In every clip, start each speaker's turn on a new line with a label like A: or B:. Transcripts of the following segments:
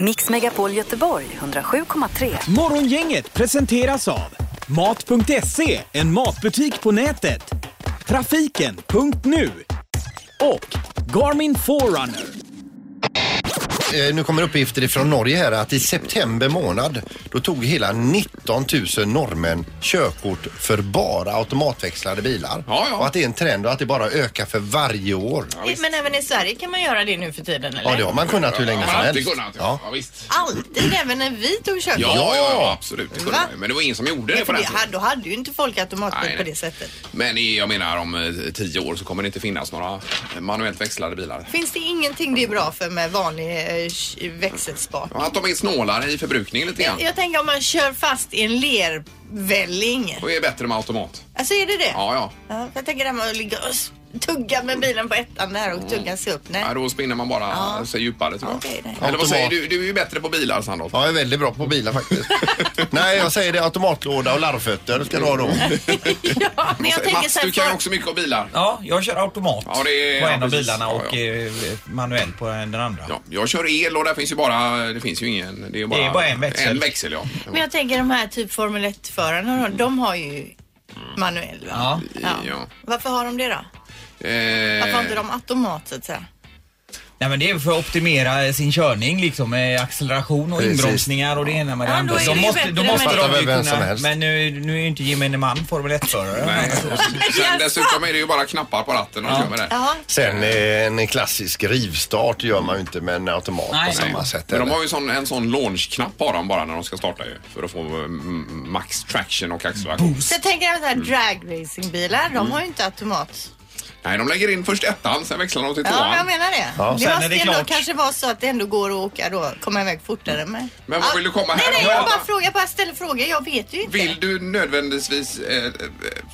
A: Mix Megapol Göteborg 107,3.
B: Morgongänget presenteras av Mat.se, en matbutik på nätet. Trafiken.nu och Garmin Forerunner.
C: Eh, Nu kommer uppgifter ifrån Norge här att i september månad då tog hela 19 000 norrmän körkort för bara automatväxlade bilar.
D: Ja, ja.
C: Och att det är en trend och att det bara ökar för varje år.
E: Men även i Sverige kan man göra det nu för tiden eller?
C: Ja, det har man kunnat hur länge som
D: Ja, det
C: helst.
D: kunde han. Ja.
C: Ja.
D: Ja, visst.
E: Alltid, även när vi tog körkort.
D: Ja, ja, ja, absolut. Det kunde
E: Va?
D: man ju. Men det var ingen som gjorde det
E: Nej,
D: på
E: för
D: den
E: det, hade-
D: tiden.
E: då hade ju inte folk
D: Nej,
E: automatbil
D: nej.
E: på det sättet.
D: Men i- jag menar om eh, tio år så kommer det inte finnas några manuellt växlade bilar.
E: Finns det ingenting det är bra för med vanlig eh, sh- växelspar?
D: Ja, Att de är snålare i förbrukningen lite grann.
E: Jag, jag tänker om man kör fast i en lervälling.
D: Och är bättre med automat.
E: Alltså är det det?
D: Ja, ja.
E: Ja, jag tänker det här med att ligga och s- tugga med bilen på ettan där
D: Mm.
E: och tugga sig upp. Nej.
D: Nej, då spinner man bara sig djupare tror jag.
E: Okej, nej.
D: Eller vad säger
C: Automat.
D: du? Du är ju bättre på bilar Sandholt.
C: Ja, jag är väldigt bra på bilar faktiskt. Nej, jag säger det. Automatlåda och larvfötter ska du ha då.
E: Ja, men jag tänker
D: Mats,
E: så här,
D: du kan ju
E: folk-
D: också mycket om bilar.
F: Ja, jag kör automat
D: Ja, det är-
F: på
D: ja,
F: en av
D: precis.
F: bilarna
D: Ja,
F: och
D: ja.
F: eh, manuell på den andra.
D: Ja, jag kör el och där finns ju bara, det finns ju ingen, det är bara,
F: Det är bara en växel.
D: En växel ja.
E: Men jag tänker de här typ Formel 1-förarna, de, de har ju manuell va?
F: Ja.
D: Ja.
E: Varför har de det då?
D: Eh,
E: Varför har inte de automat så att säga?
F: Nej, men det är för att optimera sin körning liksom med acceleration och
C: Precis.
F: inbromsningar och det ena med det
E: Ja,
F: andra.
E: då är det
F: de
E: ju
F: måste,
E: bättre
F: då
E: med-
F: måste
C: Fattar
F: de ju
C: väl vem som
F: kunna,
C: helst.
F: men nu, nu är ju inte gemene man Formel 1-förare.
D: Eh, Nej. Och sen- Sen dessutom är det ju bara knappar på ratten och ja. med det.
E: Jaha.
C: Sen eh, en klassisk rivstart gör man ju inte med en automat
F: Nej.
C: på samma sätt.
D: Men de
C: eller?
D: har ju sån, en sån launch-knapp har de bara när de ska starta ju. För att få mm, max traction och axelvagn.
E: Så jag tänker även så här
D: Mm.
E: dragracingbilar, de har ju inte automat.
D: Nej, de lägger in först ettan, sen växlar de till
E: Ja, men jag
D: tvåan.
E: menar det.
C: Ja.
E: Det
F: Sen är
E: måste
F: det
E: ju ändå
F: klart.
E: kanske vara så att det ändå går att åka då, komma iväg fortare med.
D: Mm. Men vad vill du komma
E: Nej,
D: här?
E: nej,
D: Ja.
E: jag bara frågar, bara ställer frågor. Jag vet ju inte.
D: Vill du nödvändigtvis eh, eh,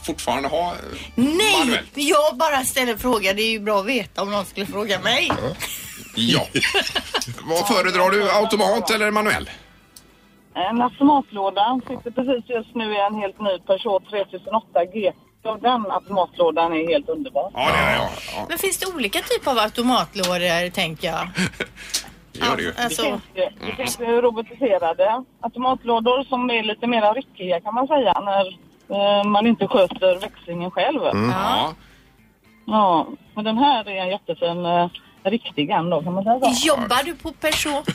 D: fortfarande ha eh,
E: Nej,
D: manuellt?
E: jag bara ställer frågor. Det är ju bra att veta om någon skulle fråga mig.
D: Ja. vad föredrar du, automat eller manuell?
G: Eh, En automatlåda. Sitter precis just nu i en helt ny Peugeot 3008 GT. Och den automatlådan är helt underbar.
D: Ja, det gör jag. Ja,
E: Men finns det olika typer av automatlådor, tänker jag?
D: det gör det ju.
G: Det
E: Alltså,
G: finns, ju- det finns ju robotiserade automatlådor som är lite mer ryckiga kan man säga när eh, man inte sköter växlingen själv.
D: Ja.
G: Ja, men den här är en jättefin eh, riktig en då kan man säga så.
E: jobbar du på Peugeot?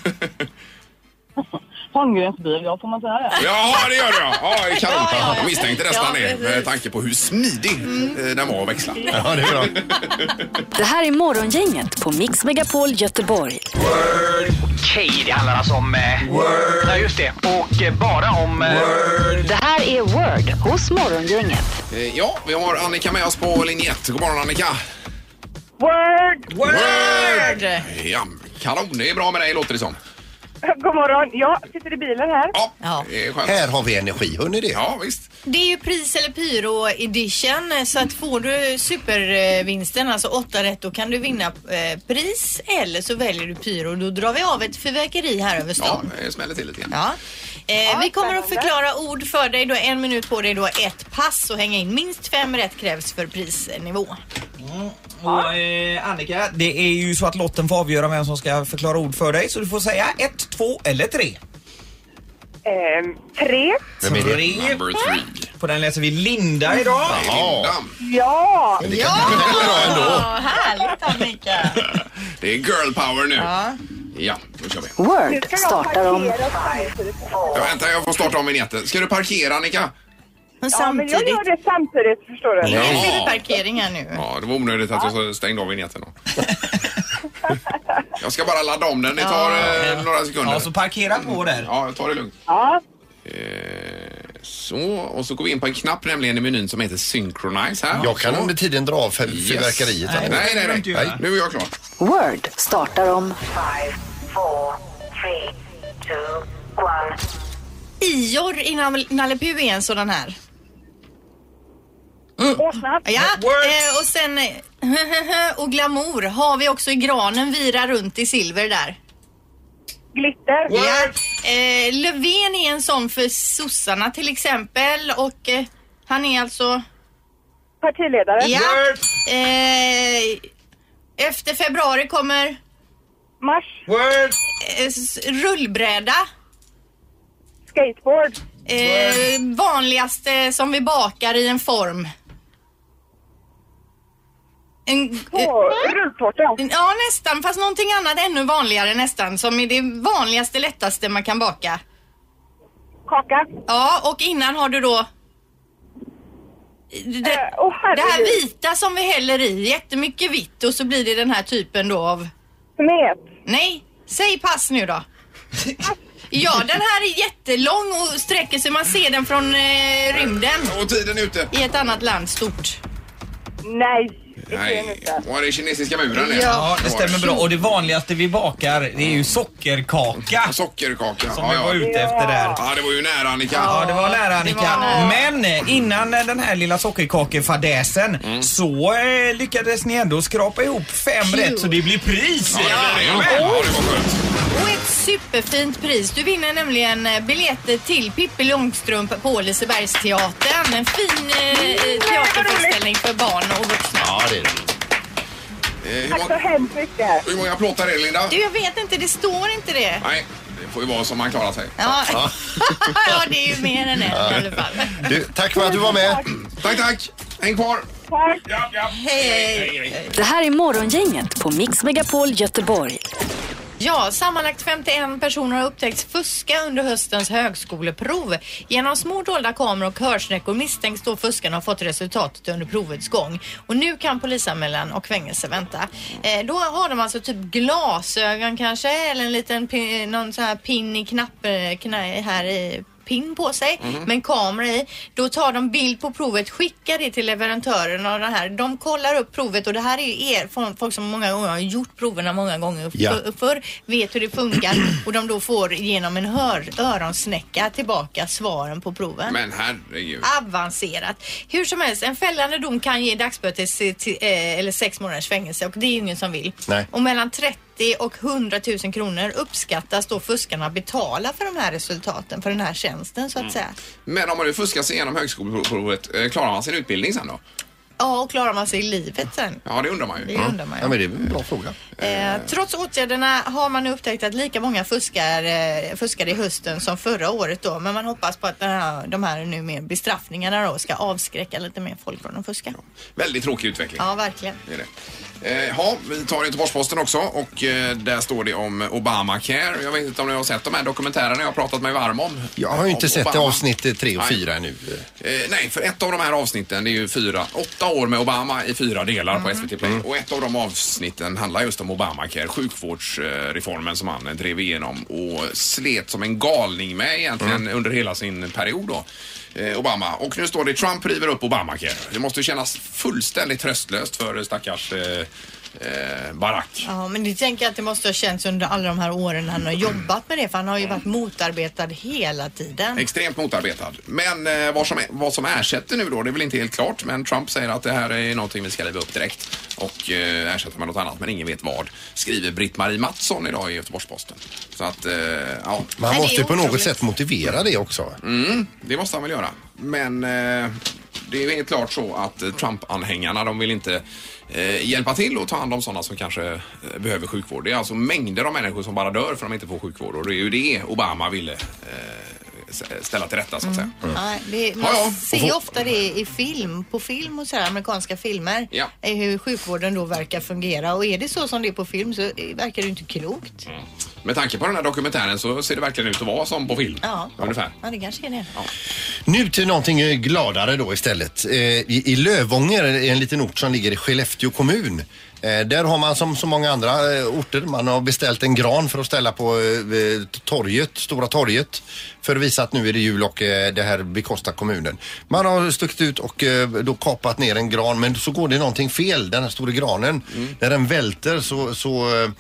G: Holmgrens bil, ja får man säga det?
D: Jaha, det gör du ja. Ja, det är kanon.
E: Ja, ja, ja.
D: Jag misstänkte nästan
E: Ja,
D: det
E: precis. Mm.
D: med tanke på hur smidig eh, den var att växla.
C: Ja, det är bra.
A: Det här är Morgongänget på Mix Megapol Göteborg.
H: Okej, det handlar alltså om... Eh, Word. Ja, just det. Och eh, bara om... Eh,
A: Det här är Word hos Morgongänget.
D: Eh, Ja, vi har Annika med oss på linje 1. God morgon Annika!
G: Word!
D: Word! Ja, kanon. Det är bra med dig låter det som.
G: God morgon! Ja, sitter i bilen här.
D: Ja,
E: Ja.
D: det är skönt.
C: Här har vi energi, hör ni det?
D: Ja, visst.
E: Det är ju pris eller pyro edition så att får du supervinsten, alltså 8 rätt, då kan du vinna eh, pris eller så väljer du pyro. Då drar vi av ett fyrverkeri här över
D: Ja,
E: stan.
D: det smäller till lite grann.
E: Ja. Eh, vi kommer att
G: spännande.
E: förklara ord för dig. Du har en minut på dig, du har ett pass och hänga in. Minst fem rätt krävs för prisnivå.
F: Och, eh, Annika, det är ju så att lotten får avgöra vem som ska förklara ord för dig så du får säga ett, två eller tre.
G: tre.
C: Vem är det?
F: Tre.
D: Number three.
F: På den läser vi Linda idag.
C: Ja,
D: Linda.
G: Ja!
C: det kan ja. bra ändå.
E: härligt Annika!
D: Det är girl power nu. Ja, då kör vi.
A: Word startar om...
D: Ja, vänta, jag får starta om vignetten. Ska du parkera Annika?
E: Men samtidigt.
G: det samtidigt, förstår du.
E: Det är
D: Ja.
E: huvudparkering här nu.
D: Ja, det var onödigt att jag så stängde av vignetten då. Jag ska bara ladda om den. Det tar eh, några sekunder.
F: Ja, så parkera på där.
D: Ja, ta det lugnt.
G: Ja.
D: Eh, Så, och så går vi in på en knapp nämligen i menyn som heter Synchronize här.
C: Jag kan
D: Så.
C: under tiden dra av för-
D: Yes.
C: fyrverkeriet.
D: Nej,
C: Annika.
D: nej, nej.
F: inte göra.
D: Nej, Nu är jag klar.
A: Word startar om...
E: Ior i Nal- Nalle Puh är en sådan här. Mm.
G: Åsna.
E: Ja,
F: Word.
E: eh, och sen eh, och glamour har vi också i granen vira runt i silver där.
G: Glitter.
E: Ja. Eh, Löfven är en sån för sossarna till exempel och eh, han är alltså...
G: Partiledare.
E: Ja. Eh, efter februari kommer...
G: Mars.
F: Word!
E: Eh, s- Rullbräda.
G: Skateboard.
E: Eh, vanligaste som vi bakar i en form. En, eh,
G: Tå- Rulltårta.
E: ja nästan, fast någonting annat ännu vanligare nästan som är det vanligaste lättaste man kan baka.
G: Kaka.
E: Ja, och innan har du då det,
G: Eh, åh, herregud.
E: det här vita som vi häller i, jättemycket vitt och så blir det den här typen då av...
G: Smet.
E: Nej, säg pass nu då. Ja, den här är jättelång och sträcker sig, man ser den från eh, rymden
D: Och tiden är ute.
E: i ett annat land stort.
G: Nej. det är det
D: Nej,
G: inte.
D: var det kinesiska muren det?
F: Ja, det stämmer bra. Och det vanligaste vi bakar, det är ju sockerkaka.
D: Sockerkaka.
F: Som
D: ja,
F: vi var
D: ja.
F: ute efter där.
D: ja, det var ju nära Annika.
F: Ja, det var nära
E: Det
F: Annika.
E: var nära.
F: Men eh, innan eh, den här lilla sockerkakefadäsen
D: Mm.
F: så eh, lyckades ni ändå skrapa ihop fem
E: Phew.
F: rätt så det blir pris.
D: Ja, det var det.
F: Jajamän.
D: Ja, det var skönt.
E: Och ett superfint pris. Du vinner nämligen eh, biljetter till Pippi Långstrump på Lisebergsteatern. En fin eh, eh, teaterföreställning för barn och vuxna.
C: Ja, det är det.
D: Eh, Hur
G: Tack så
D: många,
G: hemskt mycket.
D: hur många plåtar är det Linda?
E: Du, jag vet inte. Det står inte det.
D: Nej, det får ju vara som man klarar sig.
E: Ja, ja det är ju mer än ett i alla fall.
C: Du, tack för att du var med.
D: Tack, tack. Häng kvar.
G: Tack.
D: Ja, ja.
E: Hej, hej.
A: Det här är Morgongänget på Mix Megapol Göteborg.
E: Ja, sammanlagt 51 personer har upptäckts fuska under höstens högskoleprov. Genom små dolda kameror och hörsnäckor misstänks då fuskarna ha fått resultatet under provets gång. Och nu kan polisanmälan och fängelse vänta. Eh, då har de alltså typ glasögon kanske eller en liten pin, någon sån här pin i knapp, eh, knä, här i pin på sig med en kamera i. Då tar de bild på provet, skickar det till leverantören av det här. De kollar upp provet och det här är ju er, fol- folk som många gånger har gjort proverna många gånger
C: Ja.
E: för, förr, vet hur det funkar och de då får genom en hör, öronsnäcka tillbaka svaren på proven.
D: Men herregud.
E: Avancerat. Hur som helst, en fällande dom kan ge dagsböter se- till, eh, eller sex månaders fängelse och det är ju ingen som vill.
C: Nej.
E: Och mellan 30 och 100 000 kronor uppskattas då fuskarna betala för de här resultaten, för den här tjänsten så att säga.
D: Men om man nu fuskar sig igenom högskoleprovet, eh, klarar man sin utbildning sen då?
E: Ja, och klarar man sig i livet sen?
D: Ja, det undrar man ju.
E: Det
D: Ja.
E: undrar man ju.
C: Ja, men det är en bra fråga.
E: Eh, trots åtgärderna har man nu upptäckt att lika många fuskar, eh, fuskar i hösten som förra året då. Men man hoppas på att den här, de här nu mer bestraffningarna då ska avskräcka lite mer folk från att fuska.
D: Väldigt tråkig utveckling.
E: Ja, verkligen.
D: Det är det. Eh, ja, vi tar Göteborgs-Posten också och eh, där står det om Obamacare. Jag vet inte om ni har sett de här dokumentärerna jag har pratat mig varm om.
C: Jag har ju inte
D: Om
C: sett
D: Obama.
C: avsnitt 3 och
D: Nej.
C: 4 ännu.
D: Eh, nej, för ett av de här avsnitten, det är ju fyra, åtta år med Obama i fyra delar på SVT Play. Och ett av de avsnitten handlar just om Obamacare, sjukvårdsreformen som han eh, drev igenom och slet som en galning med egentligen under hela sin period då. eh, Obama. Och nu står det Trump river upp Obamacare. Det måste ju kännas fullständigt tröstlöst för stackars eh, eh, Barack.
E: Ja, men det tänker jag att det måste ha känts under alla de här åren han har jobbat med det. För han har ju varit motarbetad hela tiden.
D: Extremt motarbetad. Men eh, vad, som, vad som ersätter nu då, det är väl inte helt klart. Men Trump säger att det här är någonting vi ska riva upp direkt och eh, ersätta med något annat. Men ingen vet vad. Skriver Britt-Marie Mattsson idag i Göteborgs-Posten. Så att, eh, ja,
C: Man
E: Nej, det är
C: måste ju på något
E: otroligt.
C: sätt motivera det också.
D: det måste han väl göra. Men eh, det är ju helt klart så att eh, Trump-anhängarna, de vill inte eh, hjälpa till och ta hand om sådana som kanske eh, behöver sjukvård. Det är alltså mängder av människor som bara dör för att de inte får sjukvård och det är ju det Obama ville eh, s- ställa till rätta så att säga.
E: Nej, det, man
D: Ja, ja.
E: ser ju ofta det i film, på film och sådär, amerikanska filmer.
D: Ja.
E: eh, Hur sjukvården då verkar fungera. Och är det så som det är på film så eh, verkar det ju inte klokt.
D: Med tanke på den här dokumentären så ser det verkligen ut att vara som på film.
E: Ja.
D: Ungefär.
E: Ja, det kanske är det.
C: Nu till någonting eh, gladare då istället. Eh, I i Lövånger, eh, en liten ort som ligger i Skellefteå kommun. eh, Där har man som så många andra eh, orter, man har beställt en gran för att ställa på eh, torget, Stora torget. För att visa att nu är det jul och eh, det här bekostar kommunen. Man har stuckit ut och eh, då kapat ner en gran men så går det någonting fel, den här stora granen. När den välter så, så eh,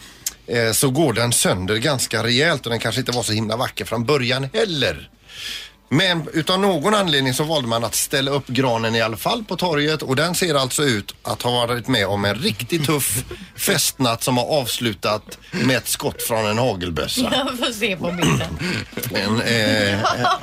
C: eh, så går den sönder ganska rejält och den kanske inte var så himla vacker från början heller. Men utan någon anledning så valde man att ställa upp granen i alla fall på torget och den ser alltså ut att ha varit med om en riktigt tuff festnatt som har avslutat med ett skott från en hagelbössa.
E: Jag får se på bilden.
C: En, eh,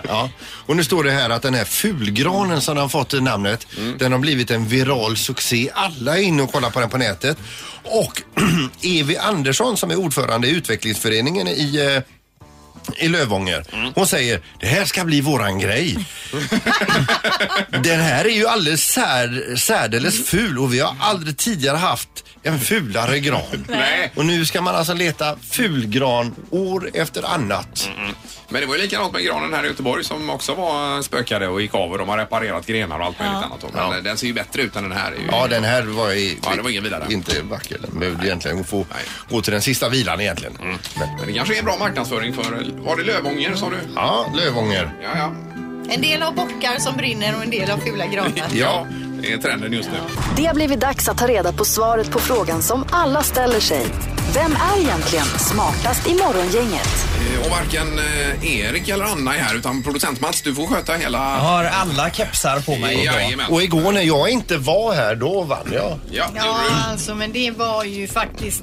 C: ja. Och nu står det här att den här fulgranen som den har fått i namnet, den har blivit en viral succé. Alla är inne och kollar på den på nätet. Och Evi Andersson som är ordförande i utvecklingsföreningen i eh, i Lövånger. Hon säger det här ska bli våran grej. Den här är ju alldeles sär, särdeles ful och vi har aldrig tidigare haft en fulare gran.
D: Nej.
C: Och nu ska man alltså leta fulgran år efter annat.
D: Men det var ju likadant med granen här i Göteborg som också var spökade och gick av och de har reparerat grenar och allt möjligt annat. då. Men
C: Ja.
D: den ser ju bättre ut än den här. Är ju...
C: Ja, den här var, i,
D: Ja, det var ingen vidare.
C: inte vacker. Den behövde egentligen få
D: Nej. Mm.
C: gå till den sista vilan egentligen. Men,
D: Men det kanske är en bra marknadsföring för... Var det Lövånger sa du?
C: ja, Lövånger.
D: Ja, ja.
E: En del har bockar som brinner och en del har fula granar.
D: Ja, det är trenden just nu.
A: Det har blivit dags att ta reda på svaret på frågan som alla ställer sig. Vem är egentligen smartast i morgongänget?
D: Eh, Och varken eh, Erik eller Anna är här utan producent Mats, du får sköta
F: Jag
D: hela...
F: har alla kepsar på mig.
D: Jajamän. Mm.
C: Och igår när jag inte var här, då vann jag.
D: Ja, det
E: Ja,
D: gjorde du.
E: alltså men det var ju faktiskt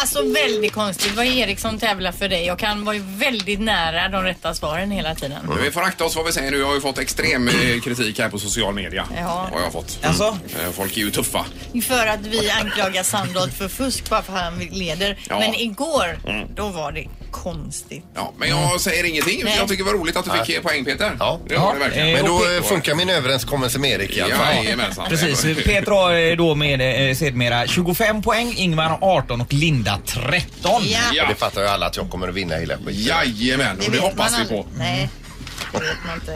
E: Alltså väldigt konstigt. Det var Erik som tävlade för dig och han var ju väldigt nära de rätta svaren hela tiden.
D: Men Vi får akta oss vad vi säger nu. Jag har ju fått extrem eh, kritik här på social media.
E: Ja.
D: Har jag fått.
F: Alltså?
D: Eh, Folk är ju tuffa.
E: För att vi anklagar Sandholt för fusk bara för att han leder.
D: Ja. Mm.
E: Men igår, då var det konstigt.
D: Ja, men jag säger ingenting.
E: Nej.
D: Jag tycker det var roligt att du fick eh, poäng Peter.
C: Ja.
D: det var
F: Ja,
D: det verkligen.
F: eh,
C: Men
F: och
C: då
F: Pe-
C: eh, funkar min överenskommelse med Erik i alla fall.
D: Jajamensan.
F: Precis, Peter har eh, då med eh, sedermera 25 poäng, Ingmar har 18 och Linda 13.
E: Ja,
D: Mm, Ja.
C: Det fattar ju alla att jag kommer att vinna hela skiten.
D: Jajamän, och det
E: vet man
D: hoppas vi
E: aldrig.
D: på. Mm.
E: Nej, det vet man inte.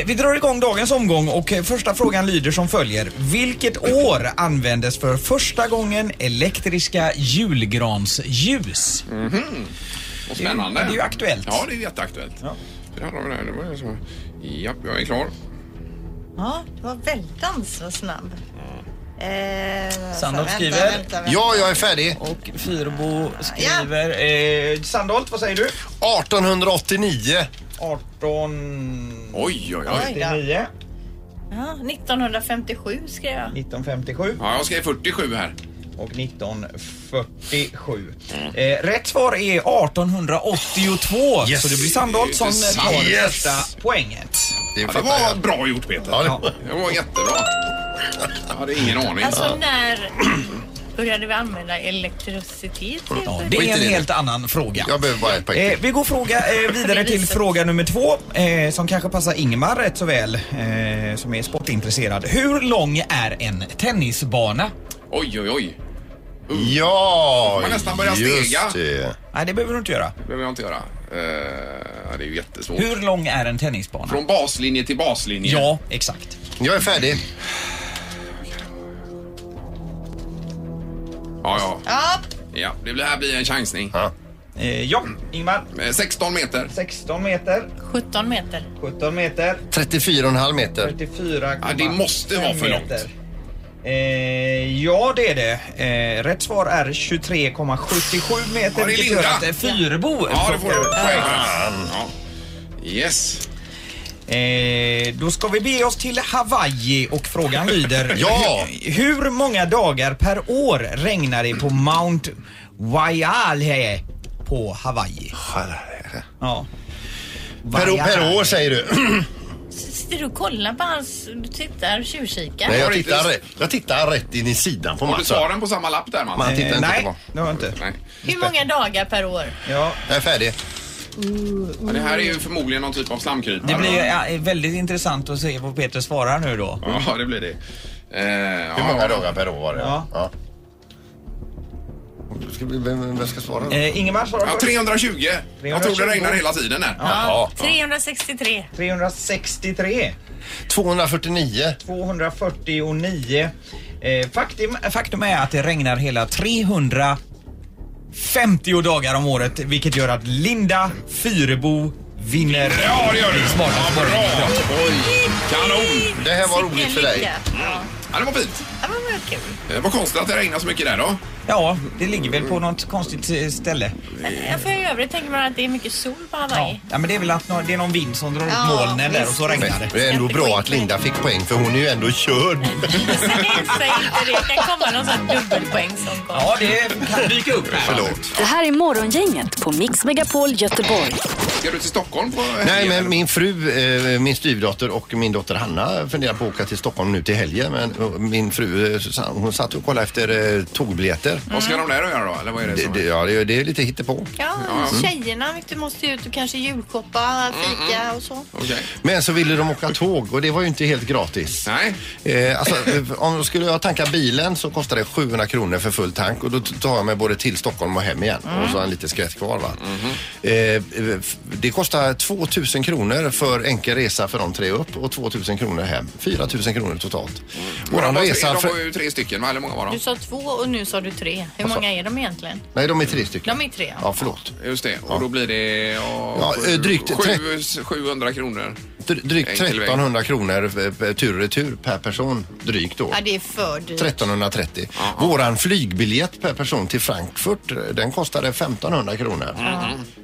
F: Eh, Vi drar igång dagens omgång och eh, första frågan lyder som följer. Vilket år användes för första gången elektriska julgransljus?
D: Och spännande.
F: Det är ju aktuellt.
D: Ja, det är ju jätteaktuellt. Ja. Där har vi det. här. det var ju så. Ja, jag är klar.
E: Ja, det var väldigt så snabb.
D: Mm.
E: Eh,
F: Sandholt
E: vänta,
F: skriver.
E: vänta, vänta.
C: Ja, jag är färdig.
F: Och Fyrbo skriver... Eh, Sandholt, vad säger du?
C: 1889.
F: 18...
D: Oj,
E: Oj.
D: oj, oj.
F: 89,
E: Ja, 1957 skrev jag.
F: 1957
D: Ja, jag skrev 47 här.
F: och 1947. Eh, rätt svar är 1882
C: Yes.
F: så det blir Sandholt som
D: Yes.
F: tar
C: Yes.
F: första poänget.
C: Det
D: Ja, det
C: fattar jag.
D: var bra gjort Peter.
C: Ja, det-
D: Det var jättebra. Jag hade ingen aning.
E: Alltså när började vi använda elektricitet?
F: Ja,
E: helt
F: det
C: Skit
F: är
C: i
F: en
C: det.
F: helt annan fråga.
C: Jag behöver bara ett poäng
F: Eh,
C: till.
F: vi går fråga, eh, vidare till
E: Lisa.
F: fråga nummer två eh, som kanske passar Ingmar rätt så väl eh, som är sportintresserad. Hur lång är en tennisbana?
D: Oj, oj, oj.
C: Ja,
D: man nästan börja
C: just
D: stega.
C: det.
F: Nej, det behöver du inte göra.
D: Det behöver jag inte göra. Eh, ja, det är ju jättesvårt.
F: Hur lång är en tennisbana?
D: Från baslinje till baslinje.
F: Ja, exakt.
C: Jag är färdig.
D: Ja, ja.
E: Ja,
D: ja det blir- här blir en chansning.
C: Ja.
F: Eh, ja, Ingmar.
D: Eh, 16 meter.
F: 16 meter,
E: 17 meter.
F: 17 meter,
C: 34,5 meter.
F: 34
D: Ja, det måste vara för långt.
F: meter. Eh, ja, det är det. Eh, rätt svar är 23,77 meter.
D: Ja, det är
F: vilket gör
D: Linda.
F: att eh, Fyrebo
D: Ja, det får du.
F: plockar upp poäng.
D: Fan. Ja.
C: Ah.
D: Yes.
F: Eh, då ska vi bege oss till Hawaii och frågan lyder
C: Ja.
F: hur, hur många dagar per år regnar det på Mount Waialae på Hawaii? Ja. Eh,
C: Per, år- per år
F: Waialae.
C: säger du.
E: Sitter du och kollar på hans... typ, Du tittar, tjuvkikar?
C: Nej, jag,
D: Har inte-
C: tittar, rätt- jag tittar rätt in i sidan på
D: Har du
C: matchen.
D: svaren på samma lapp där,
C: Man
D: Mats?
C: tittar
F: Eh,
C: inte
F: nej,
C: tillbaka.
F: det har jag inte.
D: Nej.
E: Hur många dagar per år?
F: Ja,
C: Jag är färdig.
D: Ja, det här är ju förmodligen någon typ av slamkrypare.
F: det blir ja, väldigt intressant att se vad Peter svarar nu då.
D: Ja, det blir det. Eh,
C: Hur många
D: ja,
C: dagar per år var det?
F: Ja.
C: Ja. Ska vi- Vem, vem ska svara?
F: Eh, Ingemar svarar
D: Ja,
F: först.
D: 320. Jag tror det regnar hela tiden här.
E: Ja, 363.
F: 363.
C: 249.
F: 249. Eh, faktum, faktum är att det regnar hela 350 dagar om året vilket gör att Linda Fyrebo vinner.
D: Ja, det gör du.
F: Smartast
D: Ja, bra. Oj, kanon.
C: Det här var
E: Sicken
C: roligt för dig.
E: lycka. Ja.
D: Ja, det var fint.
E: Ja, men vad kul.
D: Eh, vad konstigt att det regnar så mycket där då.
F: Ja, det ligger väl på något konstigt eh, ställe.
E: Men, för i övrigt tänker man att det är mycket sol på
F: Ja,
E: Hawaii.
F: ja men det är väl att nå- det är någon vind som drar upp
E: Ja,
F: molnen där och så
E: visst.
F: regnar det.
C: Det är ändå bra att Linda fick poäng för hon är ju ändå körd.
E: Säg inte det. Det kan komma någon sån här dubbelpoäng som går.
F: Ja, det kan dyka upp här.
C: Förlåt.
A: Det här är Morgongänget på Mix Megapol Göteborg.
D: Ska du till Stockholm på
C: Nej,
D: helgen?
C: men min fru, eh, min styvdotter och min dotter Hanna funderar på att åka till Stockholm nu till helgen. Men och min fru, eh, Susanne, hon satt och kollade efter eh, tågbiljetter.
D: Vad ska de där och göra då? Eller vad är det,
C: Det,
D: som...
C: Mm. det, ja, det, det är lite hittepå.
E: Ja, tjejerna du måste ju ut och kanske julshoppa, fika och så.
D: Okej.
C: Men så ville de åka tåg och det var ju inte helt gratis.
D: Nej.
C: Eh, alltså, eh, om jag skulle jag tanka bilen så kostar det 700 kronor för full tank och då tar jag mig både till Stockholm och hem igen. Och så har jag en liten skvätt kvar. Va? Eh, eh, f- det kostar 2000 kronor för enkel resa för de tre upp och 2000 kronor hem. 4000 kronor totalt. Våran
D: Mm. de,
C: resa...
D: de
C: För,
D: var ju tre stycken, va? Eller många var
E: Du
D: de?
E: sa två och nu sa du tre. Hur
C: Alltså-
E: många är de egentligen?
C: nej, de är tre stycken.
E: De är tre, ja.
C: Ja, förlåt.
D: Just det. Och då blir det...
C: Ja, eh, drygt
D: sju, 700 kronor.
C: Dr- Drygt
D: Enkel väg.
C: 1300 kronor eh, tur och retur per person. Drygt då.
E: Ja, det är för dyrt.
C: 1330. Våran flygbiljett per person till Frankfurt den kostade 1500 kronor.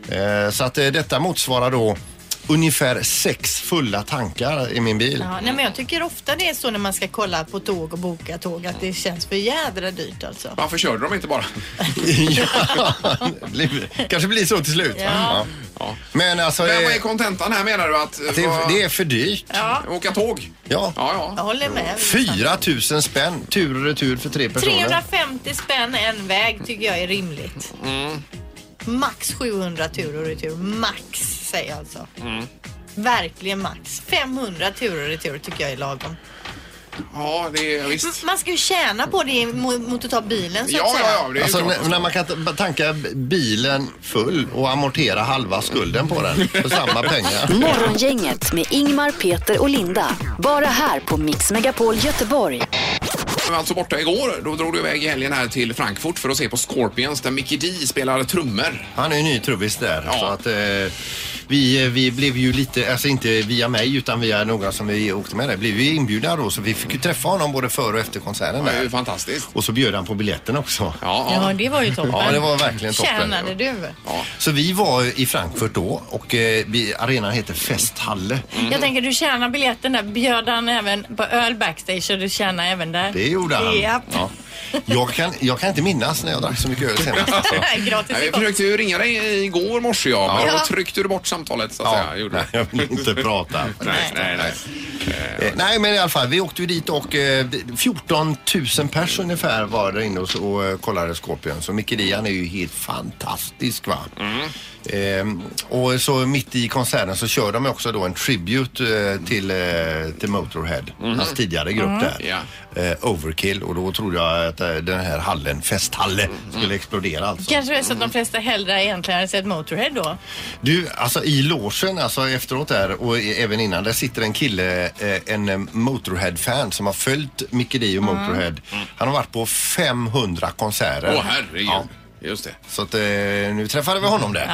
C: Eh, Så att eh, detta motsvarar då ungefär sex fulla tankar i min bil.
E: Ja, nej, men jag tycker ofta det är så när man ska kolla på tåg och boka tåg att det känns för jädra dyrt alltså.
D: Varför körde de inte bara?
C: Eh, Ja. det blir- kanske blir så till slut. Ja.
D: Ja.
C: Men alltså,
D: Men vad
C: eh,
D: är kontentan här menar du? Att,
C: det,
D: vad-
C: är- det är för dyrt.
E: Ja,
D: Åka tåg?
C: Ja.
D: Ja,
E: jag
D: ja.
E: håller med.
C: 4000 spänn tur och retur för tre personer.
E: 350 spänn en väg tycker jag är rimligt.
C: Mm.
E: Max 700 tur och retur. Max säger jag alltså.
C: Mm.
E: Verkligen max. 500 tur och retur tycker jag är lagom.
D: Ja, det är
E: M-
D: visst.
E: Man ska ju tjäna på det mot mot att ta bilen så att
D: Ja,
E: säga.
D: ja, ja. Det är
C: Alltså
D: ju klart.
C: när när man kan ta- tanka bilen full och amortera halva skulden på den för samma pengar.
A: Morgongänget med Ingmar, Peter och Linda. Bara här på Mix Megapol Göteborg.
D: Jag var alltså borta igår. Då drog du iväg i helgen här till Frankfurt för att se på Scorpions där Mickey D spelar trummor.
C: Han är ju ny trubbis där.
D: Ja.
C: Så att, eh, vi, vi blev ju lite, alltså inte via mig utan via några som vi åkte med där, blev vi inbjudna då så vi fick ju träffa honom både före och efter konserten
D: Det är ju
C: där.
D: fantastiskt.
C: Och så bjöd han på biljetten också.
D: Ja, ja.
E: Ja, det var ju toppen.
C: Ja, det var verkligen toppen.
E: Tjänade du?
C: Så vi var i Frankfurt då och eh, vi, arenan heter Festhalle.
D: Mm.
E: Jag tänker du tjänar biljetten där. Bjöd han även på öl backstage och du tjänar även där?
C: Det gjorde han.
E: Japp.
C: Ja. Jag, kan, jag kan inte minnas när jag drack så mycket öl senast. alltså.
E: Gratis
D: Nej,
E: i
D: vi försökte ju ringa dig igår morse ja, men då tryckte du bort samtalet så att säga. Gjorde.
C: nej,
D: du.
C: jag vill inte prata.
D: Nej, nej, nej.
C: Eh, Nej men i alla fall, vi åkte ju dit och eh, 14 000 pers ungefär var där inne och, så- och eh, kollade Scorpion. Så Micke Dian är ju helt fantastisk va. Ehm, och så mitt i konserten så kör de också då en tribute eh, till, eh, till Motorhead, hans tidigare grupp där. Eh, Overkill och då trodde jag att eh, den här hallen, festhallen, skulle explodera alltså.
E: Kanske det är så att de flesta hellre egentligen hade sett Motorhead då.
C: Du, alltså i logen alltså efteråt där och i- även innan, där sitter en kille, eh, en eh, Motorhead-fan som har följt Mickey Dee och
D: Mm.
C: Motorhead. Han har varit på 500 konserter.
D: Åh herregud.
C: Ja,
D: Just det.
C: så att eh, nu träffade vi honom där.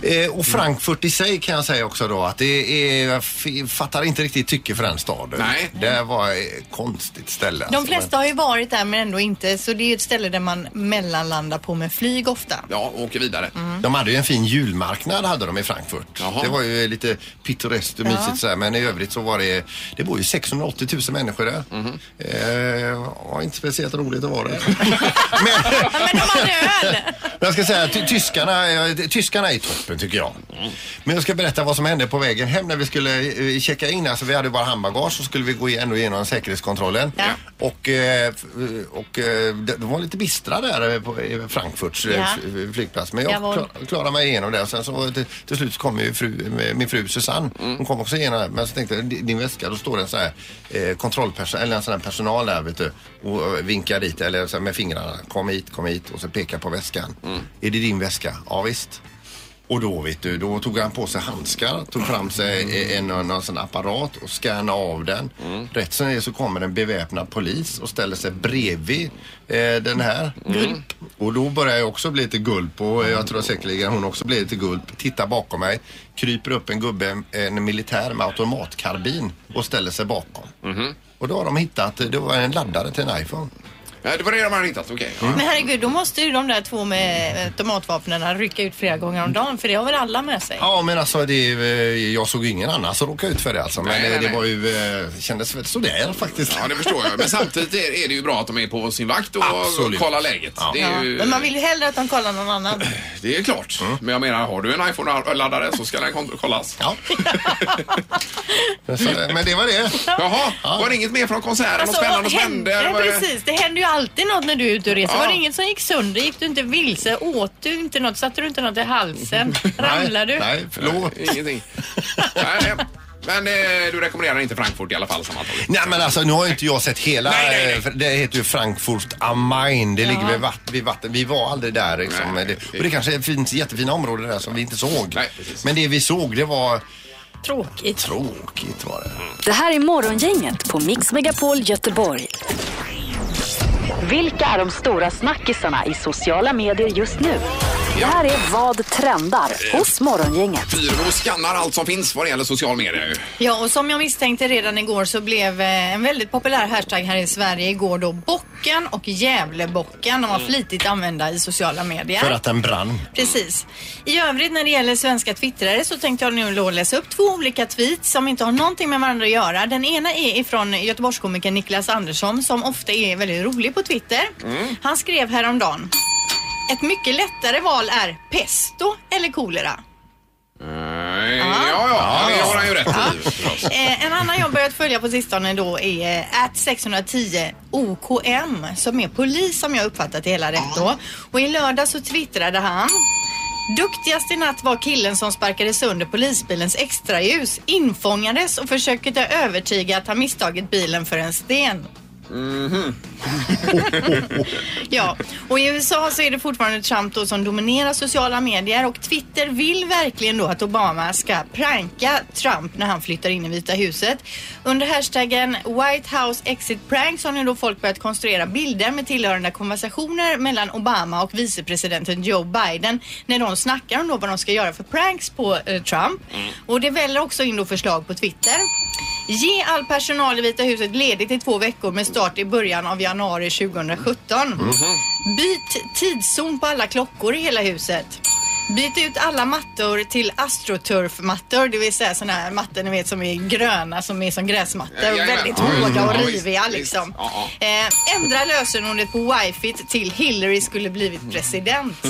D: Ja.
C: Eh, och Frankfurt i sig kan jag säga också då att det är, jag f- fattar inte riktigt tycke för den staden.
D: Nej.
C: Det var ett konstigt ställe.
E: De
C: alltså.
E: flesta har ju varit där men ändå inte så det är ju ett ställe där man mellanlandar på med flyg ofta.
D: Ja, åker vidare.
C: De hade ju en fin julmarknad hade de i Frankfurt.
D: Jaha.
C: Det var ju lite pittoreskt och mysigt sådär. Men i övrigt så var det, det bor ju 680 000 människor där. Eh, ja, inte speciellt roligt att vara där. men,
E: Ja, men de hade öl!
C: men jag ska säga att ty- tyskarna, eh, tyskarna är toppen tycker jag. Men jag ska berätta vad som hände på vägen hem när vi skulle eh, checka in. Alltså vi hade ju bara handbagage så skulle vi gå igen- ändå igenom säkerhetskontrollen.
E: Ja.
C: Och, eh, f- och eh, de de var lite bistra där eh, på eh, Frankfurts eh,
E: Ja.
C: f- flygplats. Men jag
E: Jag var-
C: kla- klarade mig igenom det. Och Sen så till, till slut så kom ju fru, min fru Susanne.
E: Mm.
C: Hon kom också igenom det. Men så tänkte jag, "Di- din väska, då står det en sån här eh, kontrollperson, eller en sån här personal där vet du. Och eh, vinkar dit, eller
E: Mm.
C: så här med fingrarna. Kom hit, kom hit. Och så pekar på väskan. Är det din väska? Ja, visst. Och då vet du, då tog han på sig handskar, tog fram sig en, någon, någon sån apparat och skannade av den. Rätt som det är så kommer en beväpnad polis och ställer sig bredvid eh, den här. Gulp. Och då börjar jag också bli lite gulp och jag tror säkerligen hon också blir lite gulp. Tittar bakom mig, kryper upp en gubbe, en militär med automatkarbin och ställer sig bakom. Och då har de hittat, det var en laddare till en iPhone.
D: Ja, det var det de hade hittat, okej.
C: Mm.
D: Ja.
E: Men herregud, då måste ju de där två med automatvapnen rycka ut flera gånger om dagen för det har väl alla med sig?
C: Ja men alltså det, eh, jag såg ingen annan som råkade ut för det alltså. Men
D: Nej, nej,
C: eh, det
D: nej.
C: var ju, eh, kändes väl sådär faktiskt.
D: Ja, det förstår jag. Men samtidigt är är det ju bra att de är på sin vakt och
C: Absolut.
D: kollar läget.
C: Ja.
D: Det,
E: Ja,
D: är ju,
E: men man vill ju hellre att de kollar någon annan.
D: det är klart.
C: Mm.
D: Men jag menar, har du en iPhone-laddare så ska den kon- kollas.
C: Ja. Så, eh, men det var det.
D: Jaha, var det inget mer från konserten? Något
E: Alltså,
D: spännande
E: vad
D: som
E: hände?
D: hände? Var det-
E: Precis, det händer ju alltid något när du är ute och reser.
D: Ja.
E: Var det inget som gick sönder? Gick du inte vilse? Åt du inte något? Satte du inte något i halsen? Ramlade du?
C: Nej, nej förlåt.
D: Ingenting. Nej, men eh, du rekommenderar inte Frankfurt i alla fall sammantaget?
C: Nej men alltså nu har ju inte jag sett hela,
D: Nej, nej, nej.
C: eh, för det heter ju Frankfurt am Main. Det ligger
E: Ja.
C: vid, vatt, vid vatten. Vi var aldrig där liksom.
D: Nej,
C: det,
D: okej.
C: och det kanske finns jättefina områden där som vi inte såg.
D: Nej, precis.
C: men det vi såg det var
E: Tråkigt.
C: tråkigt var det.
A: Det här är Morgongänget på Mix Megapol Göteborg. Vilka är de stora snackisarna i sociala medier just nu? Det här är Vad trendar hos Morgongänget.
D: Fyrebo skannar allt som finns vad det gäller social media ju.
E: Ja, och som jag misstänkte redan igår så blev eh, en väldigt populär hashtag här i Sverige igår då bocken och Gävlebocken. De var flitigt använda i sociala medier.
C: För att den brann.
E: Precis. I övrigt när det gäller svenska twittrare så tänkte jag nu då läsa upp två olika tweets som inte har någonting med varandra att göra. Den ena är ifrån Göteborgskomikern Niklas Andersson som ofta är väldigt rolig på Twitter. Han skrev häromdagen. Ett mycket lättare val är pesto eller kolera.
D: Nej, Eh, ja, ja, det har han ju rätt i förstås.
E: Eh, en annan jag börjat följa på sistone då är eh, att 610 OKM som är polis som jag uppfattat det hela rätt då. Och i lördag så twittrade han. Duktigast i natt var killen som sparkade sönder polisbilens extraljus, infångades och försökte övertyga att han misstagit bilen för en sten. Ja, och i USA så är det fortfarande Trump då som dominerar sociala medier och Twitter vill verkligen då att Obama ska pranka Trump när han flyttar in i Vita huset. Under hashtaggen White House Exit Pranks har nu då folk börjat konstruera bilder med tillhörande konversationer mellan Obama och vicepresidenten Joe Biden när de snackar om då vad de ska göra för pranks på eh, Trump. Och det väller också in då förslag på Twitter. Ge all personal i Vita huset ledigt i två veckor med start i början av januari 2017.
D: Mhm.
E: Byt tidszon på alla klockor i hela huset. Byt ut alla mattor till astroturf-mattor, det vill säga sådana här mattor ni vet som är gröna som är som gräsmattor.
D: Jajamän.
E: väldigt
D: Ja, visst.
E: hårda och
D: Ja, visst.
E: riviga
D: Visst.
E: liksom.
D: Ja,
E: Eh, ändra lösenordet på wifi till Hillary skulle blivit president.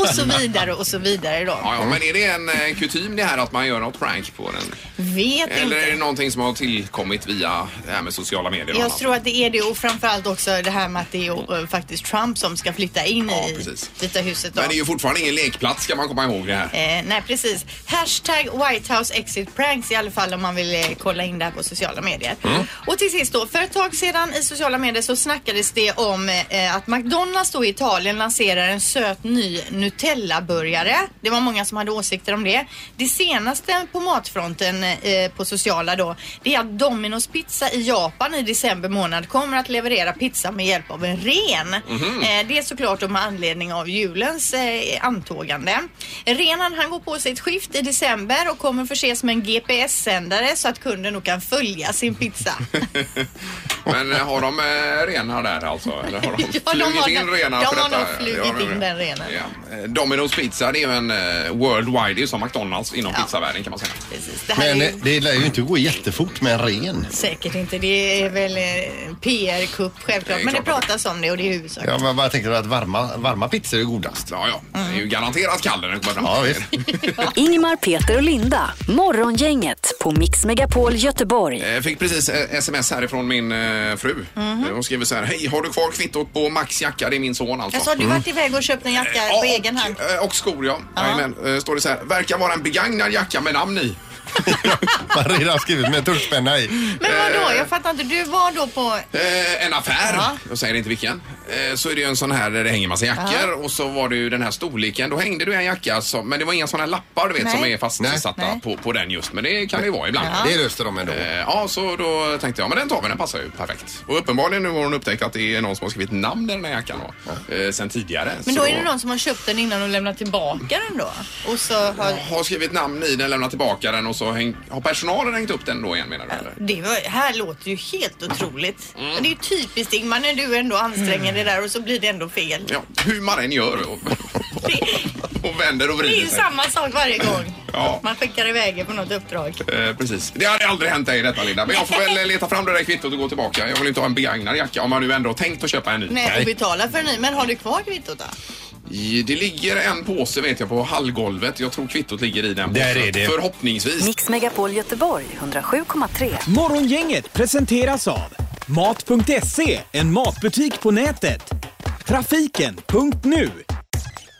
E: och så vidare och så vidare då.
D: Ja, ja, men är det en eh, kutym det här att man gör något prank på den?
E: Vet
D: Eller
E: inte.
D: är det någonting som har tillkommit via det här med sociala medier? och
E: Jag
D: annat?
E: tror att det är det och framförallt också det här med att det är eh, faktiskt Trump som ska flytta in
D: Ja,
E: i
D: precis.
E: Vita huset. Då.
D: Men det är ju fortfarande ingen lekplats ska man komma ihåg det här.
E: Eh, nej precis. Hashtag White House Exit Pranks i alla fall om man vill eh, kolla in det här på sociala medier.
D: Mm.
E: Och till sist då, för ett tag sedan i sociala medier så snackades det om eh, att McDonalds då i Italien lanserar en söt ny Nutella-burgare. Det var många som hade åsikter om det. Det senaste på matfronten eh, på sociala då, det är att Domino's Pizza i Japan i december månad kommer att leverera pizza med hjälp av en ren.
D: Mhm.
E: Eh, det är såklart då med anledning av julens eh, antågande. Renen han går på sitt skift i december och kommer förses med en GPS-sändare så att kunden nog kan följa sin pizza.
D: Men eh, har de eh, renar där alltså? Eller har de
E: Ja, de
D: flugit
E: har
D: in
E: den-
D: renar
E: de
D: för
E: har
D: detta?
E: nog flugit
D: Ja, de-
E: in den renen.
D: Ja. Eh, Domino's pizza det är ju en eh, worldwide, det är ju som McDonalds inom
E: Ja.
D: pizzavärlden kan man säga.
E: Precis. Det här
C: Men
E: är
C: eh,
E: ju
C: det lär ju inte gå jättefort med en ren.
E: säkert inte. Det är väl eh, PR-kupp självklart.
D: Det är
E: Men det
D: klart att det-
E: pratas om det och det är huvudsaken.
C: Jag bara- bara tänker att varma, varma pizzor är godast.
D: Ja, ja. Det är
E: Mm.
D: ju garanterat kall när den kommer fram.
C: Ja, visst.
A: Ingmar, Peter och Linda. Morgongänget på Mix Megapol Göteborg.
D: Eh, Fick precis eh, sms härifrån min eh, fru.
E: Mhm.
D: Eh, Hon skriver så här. Hej, har du kvar kvittot på Max jacka? Det är min son alltså.
E: Jag sa du varit iväg och köpt en jacka
D: Ja,
E: på egen hand.
D: Och, eh, och skor ja. Jajamän. Eh, Står det så här. Verkar vara en begagnad jacka med namn i.
C: Man har redan skrivit med tuschpenna i.
E: Men vadå? Jag fattar inte. Du var då på...
D: Eh, en affär,
E: Ja.
D: jag säger inte vilken, eh, så är det ju en sån här där det hänger massa jackor och så var det ju den här storleken. Då hängde hade du en jacka, som, men det var inga sådana lappar du vet,
E: Nej.
D: som är fastsatta
E: Nej. Nej.
D: På, på den just. Men det kan det ju vara ibland.
C: Det löste de ändå.
D: Eh, Ja, så då tänkte jag, men den tar vi, den passar ju perfekt. Och uppenbarligen nu har hon upptäckt att det är någon som har skrivit namn i den här jackan då, eh, sen tidigare.
E: Men
D: Så
E: då är det någon som har köpt den innan och lämnat tillbaka den då? Och så har...
D: Har skrivit namn i den, lämnat tillbaka den och så häng, har personalen hängt upp den då igen menar du? Eller?
E: Det var, här låter ju helt otroligt.
D: Mm.
E: Men Det är ju typiskt Ingmar när du ändå anstränger dig där och så blir det ändå fel.
D: Ja, hur man än gör och, och vänder och
E: Det är
D: vrider
E: ju
D: sig.
E: samma sak varje gång.
D: Ja.
E: Man skickar iväg er på något uppdrag.
D: Eh, precis. Det hade aldrig hänt dig detta Linda. Men jag får väl leta fram det där kvittot och gå tillbaka. Jag vill inte ha en begagnad jacka om man nu ändå har tänkt att köpa en ny.
E: Nej, och betala för en ny. Men har du kvar kvittot då?
D: I- Det ligger en påse vet jag på hallgolvet. Jag tror kvittot ligger i den påsen.
C: Där är det.
D: Förhoppningsvis.
I: Mix Megapol Göteborg 107,3.
F: Morgongänget presenteras av Mat.se, en matbutik på nätet. Trafiken.nu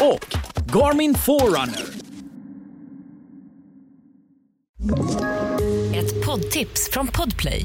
F: och Garmin Forerunner.
A: Ett poddtips från Podplay.